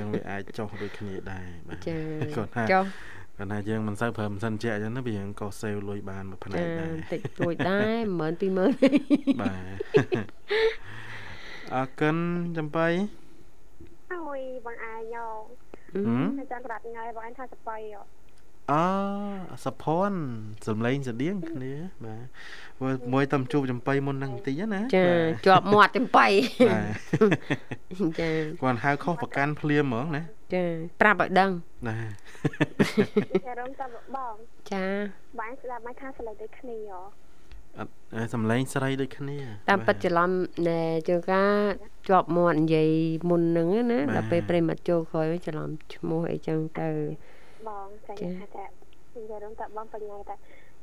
S1: ទអញ្ចឹងវាអាចចុះដូចគ្នាដែរបាទ
S2: ចា
S1: គាត់ថា
S2: ចុះ
S1: គាត់ថាយើងមិនសូវប្រើមិនសិនជាក់អញ្ចឹងណាវាយើងក៏សេវលុយបានមួយផ្នែ
S2: ចា
S1: កដែរ
S2: តិចតួចដែរ12000 20000
S1: បាទ អរគុណចំបៃ
S5: អូយបងអាយយោ
S1: ហឹម
S5: តែចង់ក្រាត់ងាយបងអាយថាសបៃ
S1: អសុភ័ណ្ឌសំឡេងស្តៀងគ្នាបាទមើលមួយតំជួបចំបៃមុនហ្នឹងបន្តិចណា
S2: ចាជាប់មាត់ចំបៃ
S1: បាទបាទ
S2: ចា
S1: គាត់ហៅខុសប្រកាន់ភ្លាមហ្មងណា
S2: ចាប្រាប់ឲ្យដឹង
S1: ណា
S5: តែរំតែបង
S2: ចា
S5: បងស្ដាប់មកថាស្លេចដូចគ្នា
S1: អត់សំឡេងស្រីដូចគ្នា
S2: តាមពិត
S1: បាទ
S2: ច្រឡំណែជួនកាលជាប់មាត់និយាយមុនហ្នឹងណា
S1: បាទ
S2: ដល់ពេលប្រិមត្តចូលក្រោយវិញច្រឡំឈ្មោះអីចឹងទៅ
S5: បងចាថាតែខ្ញុំរំតែបងបញ្ញាតែ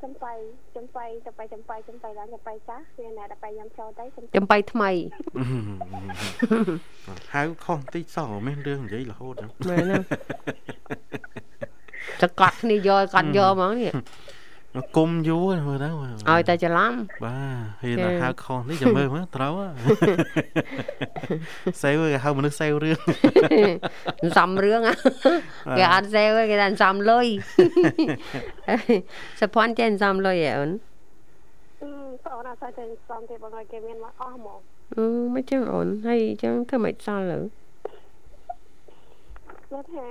S5: ចំបៃចំបៃចំបៃចំបៃចំបៃឡើងចំបៃចាស់វាណែដល់ពេលខ្ញុំចូលទៅចំ
S2: ចំបៃថ្មី
S1: ហៅខុសបន្តិចសោះមានរឿងនិយាយរហូតហ្នឹង
S2: មែនណា ទៅកត់គ្នាយកឲ្យកត់យកហ្មងនេះ
S1: គុំយូរមើលទៅមើល
S2: ឲ្យតែច្រឡំ
S1: បាទហើយ
S2: ចា៎
S1: ណាហៅខុសនេះចាំមើលមើលត្រូវហ៎ សេវគេហៅមនុស្សសេវរឿង
S2: សន្សំរឿងហ៎គេអត់សេវទេគេតែសន្សំលុ យ សុភ័ណ្ឌចេះសន្សំលុយឯអូន
S5: អឺបងអូនអត់សូវទៅសំទេបងឲ្យគេមានមកអស់ហ្មង
S2: អឺមិនចឹងអូនហើយអញ្ចឹងធ្វើមិនសល់លើ
S5: គាត់ថា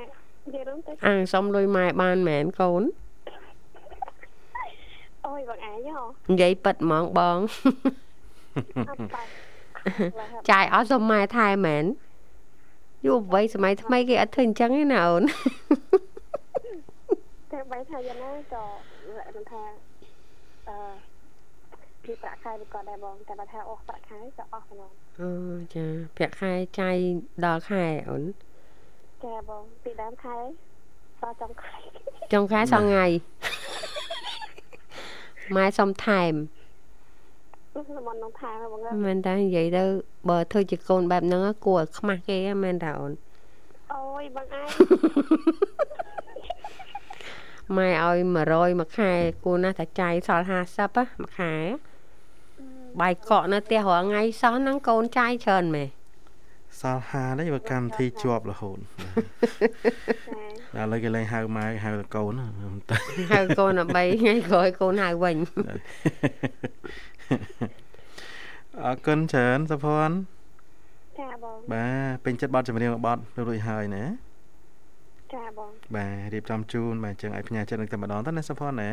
S5: និយាយរួមទៅ
S2: អាសន្សំលុយម៉ែបានមែនកូន
S5: អូយបងឯងហ៎
S2: និយាយប៉ិតហ្មងបង
S5: អត់ បាច់ឡើយហ่ะ
S2: ចាយអត់សុំម៉ែថែមែនយូរវ័យសម័យថ្មីគេអត់ធ្វើអញ្ចឹងទេណាអូន
S5: តែបីថាយ៉ាងណាក៏លក្ខណៈថាអឺពីប្រាក់ខែវាក៏ដែរបងតែបើថាអស់ប្រាក់ខែក៏អស់ហ្មង
S2: អូចាប្រាក់ខែចាយដល់ខែអូន
S5: ចាបងពីដើមខែដល់ចុងខែ
S2: ចុងខែសងថ្ងៃម៉ែសុំថែម
S5: ខ្ញុំមិននឹងថែមទេបងអើយ
S2: មែនតានិយាយទៅបើធ្វើជាកូនបែបហ្នឹងហ៎គួរឲ្យខ្មាស់គេហ៎មែនតាអូន
S5: អូយបងឯង
S2: ម៉ែឲ្យ100មួយខែគួរណាស់តែចាយសល់50ហ៎មួយខែបាយកក់នៅផ្ទះរាល់ថ្ងៃសោះហ្នឹងកូនចាយច្រើនមែន
S1: សាលហានេះបើកម្មវិធីជាប់រហូត
S5: ចា
S1: បាទឥឡូវគេលែងហៅម៉ែហៅតែកូនណាតែ
S2: ហើយកូន13ថ្ងៃក្រោយកូនហៅវិញ
S1: អរគុណច្រើនសុភ័ណ្ឌ
S5: ចាបង
S1: បាទពេញចិត្តបတ်ចម្រៀងរបស់បတ်រួចហើយណា
S5: ចាបង
S1: បាទរៀបចំជូនបាទអញ្ចឹងឲ្យផ្ញើចិត្តនឹងតែម្ដងទៅណាសុភ័ណ្ឌណា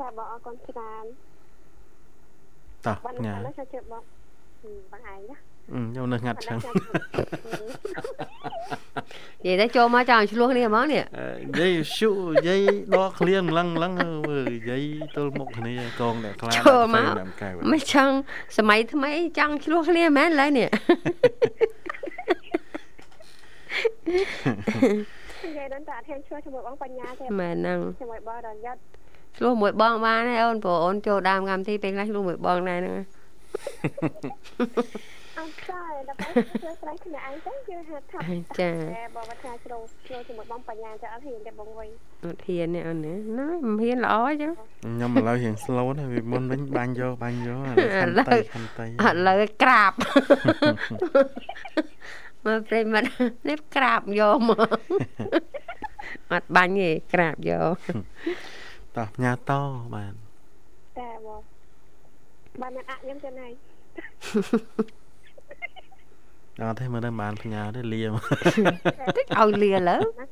S5: ចាបងអរគុណច្រើន
S1: តោះ
S5: បង
S1: ផ្ញើ
S5: ខាងនេះខ្ញុំជឿបងហ៊ឹមបងឯងណា
S1: អឺខ្ញុំនៅងាត់ចឹង
S2: និយាយទៅចូលមកចង់ឆ្លោះគ្នាហ្មងនេះ
S1: អឺនិយាយស៊ូនិយាយដកឃ្លៀងម្លឹងម្លឹងអើមើលនិយាយទល់មុខគ្នាកងអ្នកខ្លា
S2: ចូលមក
S1: ដាំកែវ
S2: មិនចង់សម័យថ្មីចង់ឆ្លោះគ្នាមែនឡើយនេះ
S5: និយាយដល់តែអត់ហ៊ានឈ្លោះជាមួយបងបញ្ញាទេ
S2: មែនហ្នឹង
S5: ជាមួយបងរយ័ត្ន
S2: ឆ្លោះមួយបងបានហើយអូនព្រោះអូនចូលដើមកម្មវិធីពេលខ្លះឆ្លោះមួយបងដែរហ្នឹង
S5: អត់ចាដល់បងជឿស្រ័យគ្នាឯងទៅគឺហាត់ថាប់
S2: ចា
S5: តែបងមកថាជ្រោឈ្លោះជាមួយបងបញ្ញាចាអត់ហ៊ានទេបងវិញ
S2: អត់ហ៊ានទេអូនណាណាមិនហ៊ានល្អអញ្ចឹង
S1: ខ្ញុំឥឡូវរៀង slow ណាស់ពីមុនវិញបាញ់យកបាញ់យកឥ
S2: ឥ
S1: ឡូ
S2: ឡូ
S1: វ
S2: វ
S1: ខាន់តៃ
S2: អ
S1: ខាន់
S2: ត់
S1: តៃ
S2: លើក្រាប មើលប្រិមត្តនេះក្រាបយកមក អត់បាញ់ទេក្រាបយក
S1: តោះផ្ញើតបាទ
S5: តែបងបានមិនអត់ខ្ញុំចឹងហើយ
S1: អត់ទេមើលដល់បានផ្ញើទេលាមក
S2: តិចឲ្យ លាលើ
S5: ណយ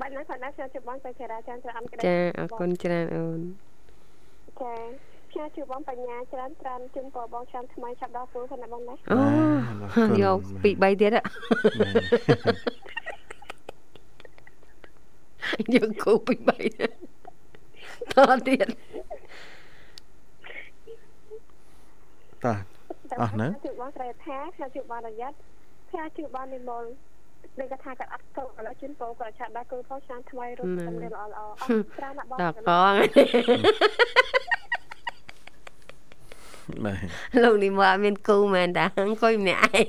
S5: បានណាគាត់ណាខ្ញុំជឿបងទៅចារាចានច្រើនក្តី
S2: ចាអរគុណច្រើនអូន
S5: ចាខ្ញុំជឿបងបញ្ញាច្រើនច្រើនជុំបងបងឆ្នាំថ្មីឆាប់ដល់ព្រោះគាត់ណាបងណា
S2: អូ យកពីរបីទៀតហ៎ យកគូពីរបីទៀតតទៀត
S1: បាទបាទតោះ អស់នៅ
S5: ខ្ញុំជឿបងស្រីថាខ្ញុំជឿបងរយ័ត្នខ្ញុំជឿបងនិមលដូចគាត់ថាគាត់អត់កូនឥឡូវជូនបងគាត់ឆាប់ដល់កូនផងឆ្នាំថ្មីរត់តាមរឿងល្អល្អៗអស់ច្រើនណាស់បង
S2: ដល់ក
S5: បង
S2: ង
S1: បាទ
S2: លោកនេះមកអត់មានគូមែនតាអង្គុយម្នាក់ឯង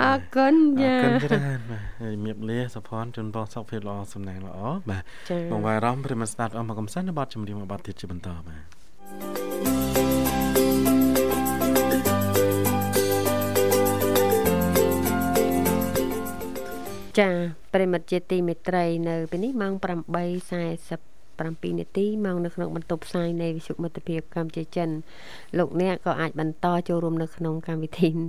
S2: អរគុណ
S1: អរ
S2: ចា
S1: គុណច្រើនបាទហើយមៀបលាសុភ័ណ្ឌជូនបងសុខភាពល្អសំណាងល្អបាទ
S2: ចា
S1: បងវ៉ារ៉មព្រមស្ដាប់អស់មកកំសាន្តនៅបទចម្រៀងមួយបទទៀតជាបន្តបាទ
S2: ចាប្រិមិត្តជាទីមេត្រីនៅពេលនេះម៉ោង8:47នាទីមកនៅក្នុងបន្ទប់ផ្សាយនៃវិទ្យុមិត្តភាពកម្ពុជាចិនលោកអ្នកក៏អាចបន្តចូលរួមនៅក្នុងកម្មវិធី នេះ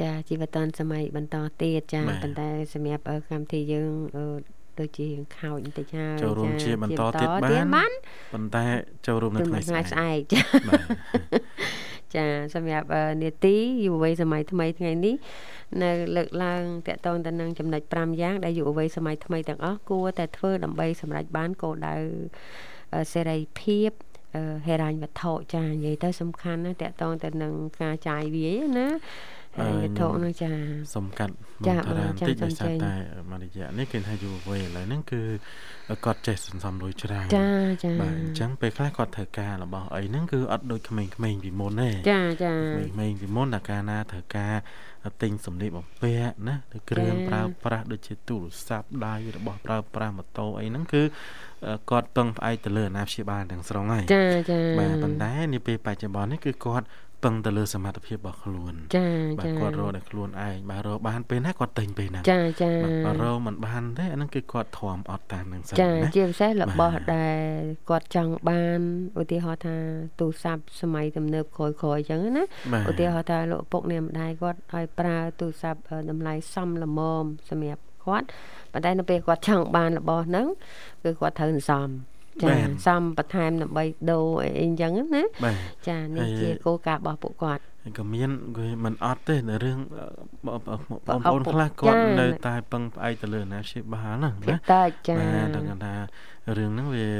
S2: ចាជីវិតឌុនសម័យបន្តទៀតចា
S1: បាទ
S2: ប៉ុន្តែសម្រាប់អឺកម្មវិធីយើងអឺដូចជារៀងខោចបន្តិចហើយ
S1: ចូលរួម
S2: ចា
S1: ជាបន្តទៀតបាន
S2: បាន
S1: ប៉ុន្តែចូលរួមនៅ
S2: ព្រ
S1: ថ្ងៃ
S2: ម
S1: ស្អែក
S2: ថ្ងៃស្អែក
S1: បាទ
S2: ចាសម្រាប់អឺនេតិយុវវ័យសម័យថ្មីថ្ងៃនេះនៅលើកឡើងតកតងទៅនឹងចំណុច5យ៉ាងដែលយុវវ័យសម័យថ្មីទាំងអស់គួរតែធ្វើដើម្បីសម្រេចបានគោលដៅអឺសេរីភាពអឺហេរញ្ញវត្ថុចានិយាយទៅសំខាន់ណាស់តកតងទៅនឹងការចាយវាយណា ហិរញ្ញវត្ថុហ្នឹងចា
S1: សុំកាត់
S2: ចា
S1: មកតារាង
S2: បង
S1: តិច
S2: ចាំ
S1: ដោយសារ
S2: ចាំចេញ
S1: តែមួយរយៈនេះគេថាយូរវ័យឥឡូវហ្នឹងគឺគាត់ចេះសន្សំលុយច្រើន
S2: ចាចា
S1: បាទអញ្ចឹងពេលខ្លះគាត់ធ្វើការរបស់អីហ្នឹងគឺអត់ដូចក្មេងៗពីមុនទេ
S2: ចាចា
S1: ក្មេងៗពីមុនតែកាលណាធ្វើការទិញសម្លៀកបំពាក់ណាឬគ្រឿងប្រើប្រាស់ដូចជាទូរស័ព្ទដៃរបស់ប្រើប្រាស់ម៉ូតូអីហ្នឹងគឺគាត់ពឹងផ្អែកទៅលើអាណាព្យាបាលទាំងស្រុងហើយ
S2: ចាចា
S1: បាទប៉ុន្តែនាពេលបច្ចុប្បន្ននេះគឺគាត់ពឹងទៅលើសមត្ថភាពរបស់ខ្លួន
S2: ចា
S1: បាទ
S2: ចា
S1: គាត់រកដល់ខ្លួនឯងបាទរកបានពេលណាគាត់ទិញពេលហ្នឹង
S2: ចាចា
S1: បាទរកមិនបានទេអាហ្នឹងគឺគាត់ធំអត់តាមនឹងសិន
S2: ចា
S1: ណា
S2: ជាពិសេសរបស់
S1: បាទ
S2: ដែលគាត់ចង់បានឧទាហរណ៍ថាទូរស័ព្ទសម័យទំនើបក្រោយៗអញ្ចឹងណា
S1: បាទ
S2: ឧទាហរណ៍ថាលោកឪពុកអ្នកម្ដាយគាត់ឲ្យប្រើទូរស័ព្ទអឺតម្លៃសមល្មមសម្រាប់គាត់ប៉ុន្តែនៅពេលគាត់ចង់បានរបស់ហ្នឹងគឺគាត់ត្រូវសន្សំចា
S1: បាទ
S2: សំបន្ថែមដើម្បីដូរអីអីអញ្ចឹងណា
S1: បាទ
S2: ចានេះ
S1: ហើយ
S2: ជាគោលការណ៍របស់ពួកគាត់
S1: ហើយក៏មានគេមិនអត់ទេនៅរឿងបង
S2: បង
S1: ប្អូនខ្លះគាត់
S2: ចា
S1: នៅតែពឹងផ្អែកទៅលើអាណាព្យាបាលហ្នឹង
S2: ភា
S1: ណា
S2: គតិចចា
S1: បាទដល់គាត់ថារឿងហ្នឹងវា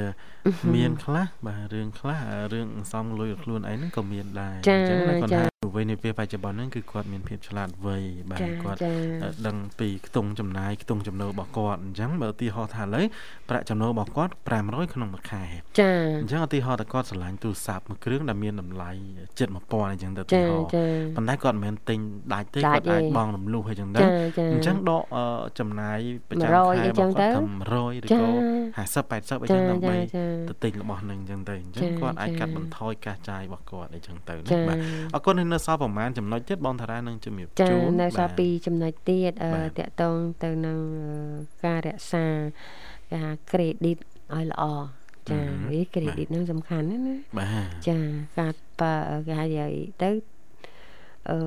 S1: មានខ្លះបាទរឿងខ្លះរឿងអន្សំលុយរបស់ខ្លួនឯងហ្នឹងក៏មានដែរ
S2: ចា
S1: ណាគាត់
S2: ចា
S1: ថាវ័យនាពេលបច្ចុប្បន្នហ្នឹងគឺគាត់មានភាពឆ្លាតវៃបាទ
S2: ចា
S1: គាត់
S2: ចា
S1: អឺដឹងពីខ្ទង់ចំណាយខ្ទង់ចំណូលរបស់គាត់អញ្ចឹងបើឧទាហរណ៍ថាឥឡូវប្រាក់ចំណូលរបស់គាត់500ក្នុងមួយខែ
S2: ចា
S1: អញ្ចឹងឧទាហរណ៍ថាគាត់ឆ្លាញ់ទូរស័ព្ទមួយគ្រឿងដែលមានតម្លៃជិត1000អញ្ចឹងទៅឧទា
S2: ចា
S1: ហរណ៍
S2: ចា
S1: ប៉ុន្តែគាត់មិនមែនទិញដាច់ទេ
S2: ដាច់
S1: គាត់អាច
S2: ទេ
S1: បង់រំលោះហើយចឹងទៅ
S2: ចាចា
S1: អញ្ចឹងដកអឺចំណាយប្រចាំ
S2: 100
S1: ខែ
S2: អីចឹងទៅ
S1: 100ឬ
S2: ចា
S1: ក៏50 80អីចឹងដើម្បីទៅទិញរបស់នឹងចឹងទៅអញ្ចឹង
S2: ចា
S1: គាត់អាច
S2: ចា
S1: កាត់បន្ថយការចាយរបស់គាត់អីចឹងទៅណា
S2: ចា
S1: បាទអរគុណនៅសល់ប្រហែលចំណុចទៀតបងតារានឹងជំរាប
S2: ចា
S1: ជូន
S2: នៅសារ
S1: បាទ
S2: ពីរចំណុចទៀត
S1: បា
S2: អឺ
S1: ទ
S2: តកតងទៅនឹងអឺការរក្សាគេហៅ credit ឲ្យល្អចាវា credit ហ្នឹងសំខាន់ណាស់ណា
S1: បាទ
S2: ចាការបើគេហៅយ៉ាងទៅអឺ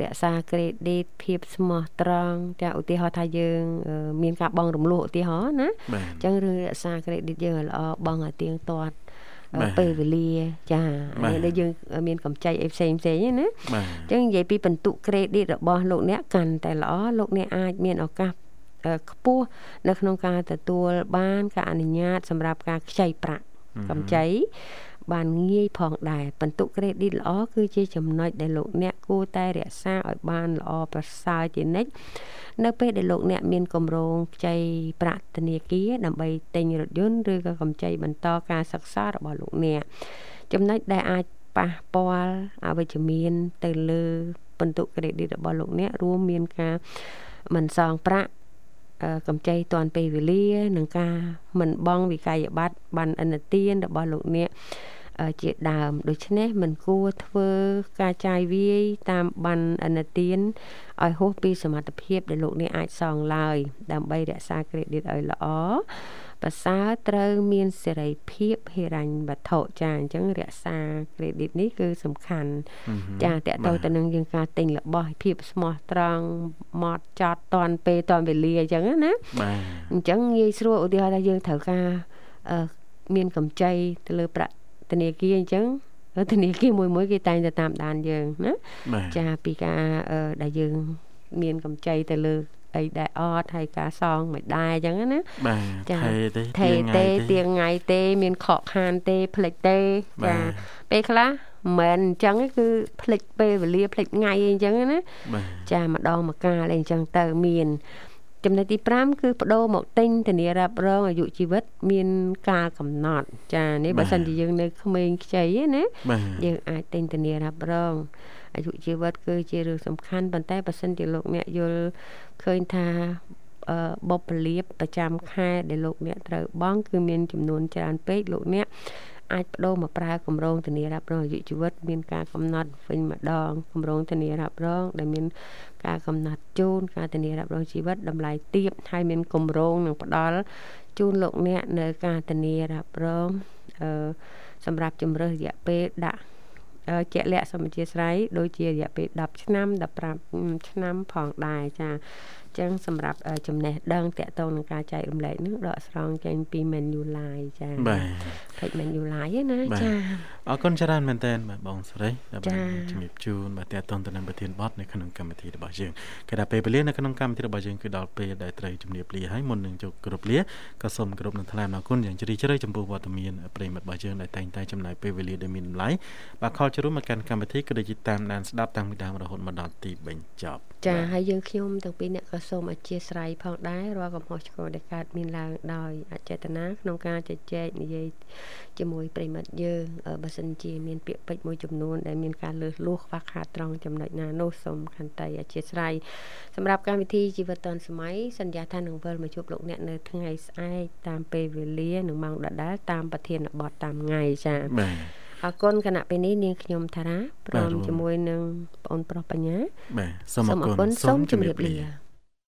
S2: រក្សា credit ភាពស្មោះត្រង់ចាឧទាហរណ៍ថាយើងអឺមានការបង់រំលោះឧទាហរណ៍ណា
S1: បាទ
S2: អញ្ចឹងរឿងរក្សា credit យើងឲ្យល្អបង់ឲ្យទៀងទាត់
S1: បា
S2: អឺ
S1: ទ
S2: ពេលវេលាចា
S1: បាទ
S2: អានេះដូចយើងមានកម្ចីអីផ្សេងផ្សេងហ្នឹងណាអ
S1: បាទ
S2: ញ្ចឹងនិយាយពីបន្ទុក credit របស់លោកអ្នកកាន់តែល្អលោកអ្នកអាចមានឱកាសអឺខ្ពស់នៅក្នុងការទទួលបានការអនុញ្ញាតសម្រាប់ការខ្ចីប្រាក់ កម្ចីបានងាយផងដែរបន្ទុក credit ល្អគឺជាចំណុចដែលលោកអ្នកគួរតែរក្សាឲ្យបានល្អប្រសើរជានិច្ចនៅពេលដែលលោកអ្នកមានកម្រោងខ្ចីប្រាក់ធនាគារដើម្បីទិញរថយន្តឬក៏កម្ចីបន្តការសិក្សារបស់លោកអ្នកចំណុចដែលអាចប៉ះពាល់អវិជ្ជមានទៅលើបន្ទុក credit របស់លោកអ្នករួមមានការមិនសងប្រាក់ អឺកម្ចីតាន់ពេលវេលានឹងការមិនបង់វិក័យប័ត្របានអនុទានរបស់លោកអ្នកអឺជាដើមដូច្នេះមិនគួរធ្វើការចាយវាយតាមបានអនុទានឲ្យហួសពីសមត្ថភាពដែលលោកអ្នកអាចសងឡើយដើម្បីរក្សា credit ឲ្យល្អប្រសើរត្រូវមានសេរីភាពហិរញ្ញវត្ថុចាអញ្ចឹងរក្សា credit នេះគឺសំខាន់
S1: ឧហឹម
S2: ចាតកត
S1: បាទ
S2: ងទៅនឹងយើងការទិញរបស់ភាពស្មោះត្រង់មកចត់តាន់ពេលតាន់វេលាអញ្ចឹងណាណា
S1: បាទ
S2: អញ្ចឹងងាយស្រួលឧទាហរណ៍ថាយើងត្រូវការអឺមានកម្ចីទៅលើប្រាក់ធនាគារអញ្ចឹងធនាគារមួយមួយៗគេតែងតែតាមដានយើងណា
S1: បាទ
S2: ចាពីការអឺដែលយើងមានកម្ចីទៅលើអីដែលអត់ហើយការសងមិនដែរអញ្ចឹងណា
S1: បាទ
S2: ចា
S1: ថេទេ
S2: ថេ
S1: ទៀង
S2: ទេ
S1: ថ្ងៃទេ
S2: ទៀងថ្ងៃទេ មានខកខានទេផ្លិចទេ
S1: បា
S2: ចា
S1: ទ
S2: ពេលខ្លះមិនមែនអញ្ចឹងទេគឺផ្លិចពេលវេលាផ្លិចថ្ងៃអីអញ្ចឹងណា
S1: បាទ
S2: ចាម្ដងមកកាលអីអញ្ចឹងទៅមាន ចំណុចទី5គឺបដូរមកទិញធានារ៉ាប់រងអាយុជីវិត មានកាលកំណត់ ចានេះបើសិនជាយើងនៅក្មេងខ្ចីឯណា
S1: បាទ
S2: យើងអាចទិញធានារ៉ាប់រងអាយុជីវិតគឺជារឿងសំខាន់ប៉ុន្តែបើសិនជាលោកអ្នកយល់ឃើញថាអឺបុព្វលាភប្រចាំខែដែលលោកអ្នកត្រូវបង់គឺមានចំនួនច្រើនពេកលោកអ្នកអាចបដូរមកប្រើគម្រោងធានារ៉ាប់រងអាយុជីវិតមានការកំណត់វិញម្ដងគម្រោងធានារ៉ាប់រងដែលមានការកំណត់ជូនការធានារ៉ាប់រងជីវិតតម្លៃទាបហើយមានគម្រោងនឹងផ្ដល់ជូនលោកអ្នកនៅការធានារ៉ាប់រងអឺ សម្រាប់ជំរើសរយៈពេលដាក់អឺជាក់លាក់សម្ជាស្រ័យដូចជារយៈពេល10ឆ្នាំ15ឆ្នាំផងដែរចាអញ្ចឹងសម្រាប់អឺចំណេះដឹងតកតងនឹងការចែករំលែកនេះដកស្រង់ចេញពី menu line ចា
S1: បាទ
S2: treatment យូរឡាយឯណា
S1: បាទ
S2: ចា
S1: អរគុណច្រើនមែនតើបាទបងសេរីដែលបាន
S2: ចា៎
S1: ជំរាបជូនបាទតេតតនទៅនឹងប្រធានបទនៅក្នុងកម្មវិធីរបស់យើងគេថាពេលវេលានៅក្នុងកម្មវិធីរបស់យើងគឺដល់ពេលដែលត្រូវជំរាបលាហើយមុននឹងចូលគ្រប់លាក៏សូមគោរពនឹងថ្លែងអំណរគុណយ៉ាងជ្រាលជ្រៅចំពោះវត្តមានប្រិយមិត្តរបស់យើងដែលតែងតែចំណាយពេលវេលាដែលមានតម្លៃបាទខលជួបមកកាន់កម្មវិធីក៏ដូចជាតាមដានស្ដាប់តាំងពីដើមរហូតមកដល់ទីបញ្ចប់
S2: ចា
S1: បាទ
S2: ហើយយើងខ្ញុំទាំងពីរអ្នកក៏សូមអធិស្ឋានផងដែររាល់កំហុសឆ្គងដែលកើតមានឡើងដោយអចេតនាក្នុងការជជែកនិយាយជាមួយប្រិមិត្តយើងអឺបើសិនជាមានពាក្យពេចន៍មួយចំនួនដែលមានការលើសលួសខ្វះខាតត្រង់ចំណុចណានោះសូមខន្តីអធិស្ឋានសម្រាប់កម្មវិធីជីវិតឌុនសម័យសន្យាថានឹងវិលមកជួបលោកអ្នកនៅថ្ងៃស្អែកតាមពេលវេលានិងម៉ោងដដែលតាមប្រធានបទតាមថ្ងៃចា
S1: បាទ
S2: អរគុណគណៈពេលនេះនាងខ្ញុំតារាព្រ
S1: បាទ
S2: ម
S1: រួម
S2: ជាមួយនឹងបងប្រុសបញ្ញា
S1: បាទសូមអរគុណ
S2: សូមជម្រាបលា
S1: លា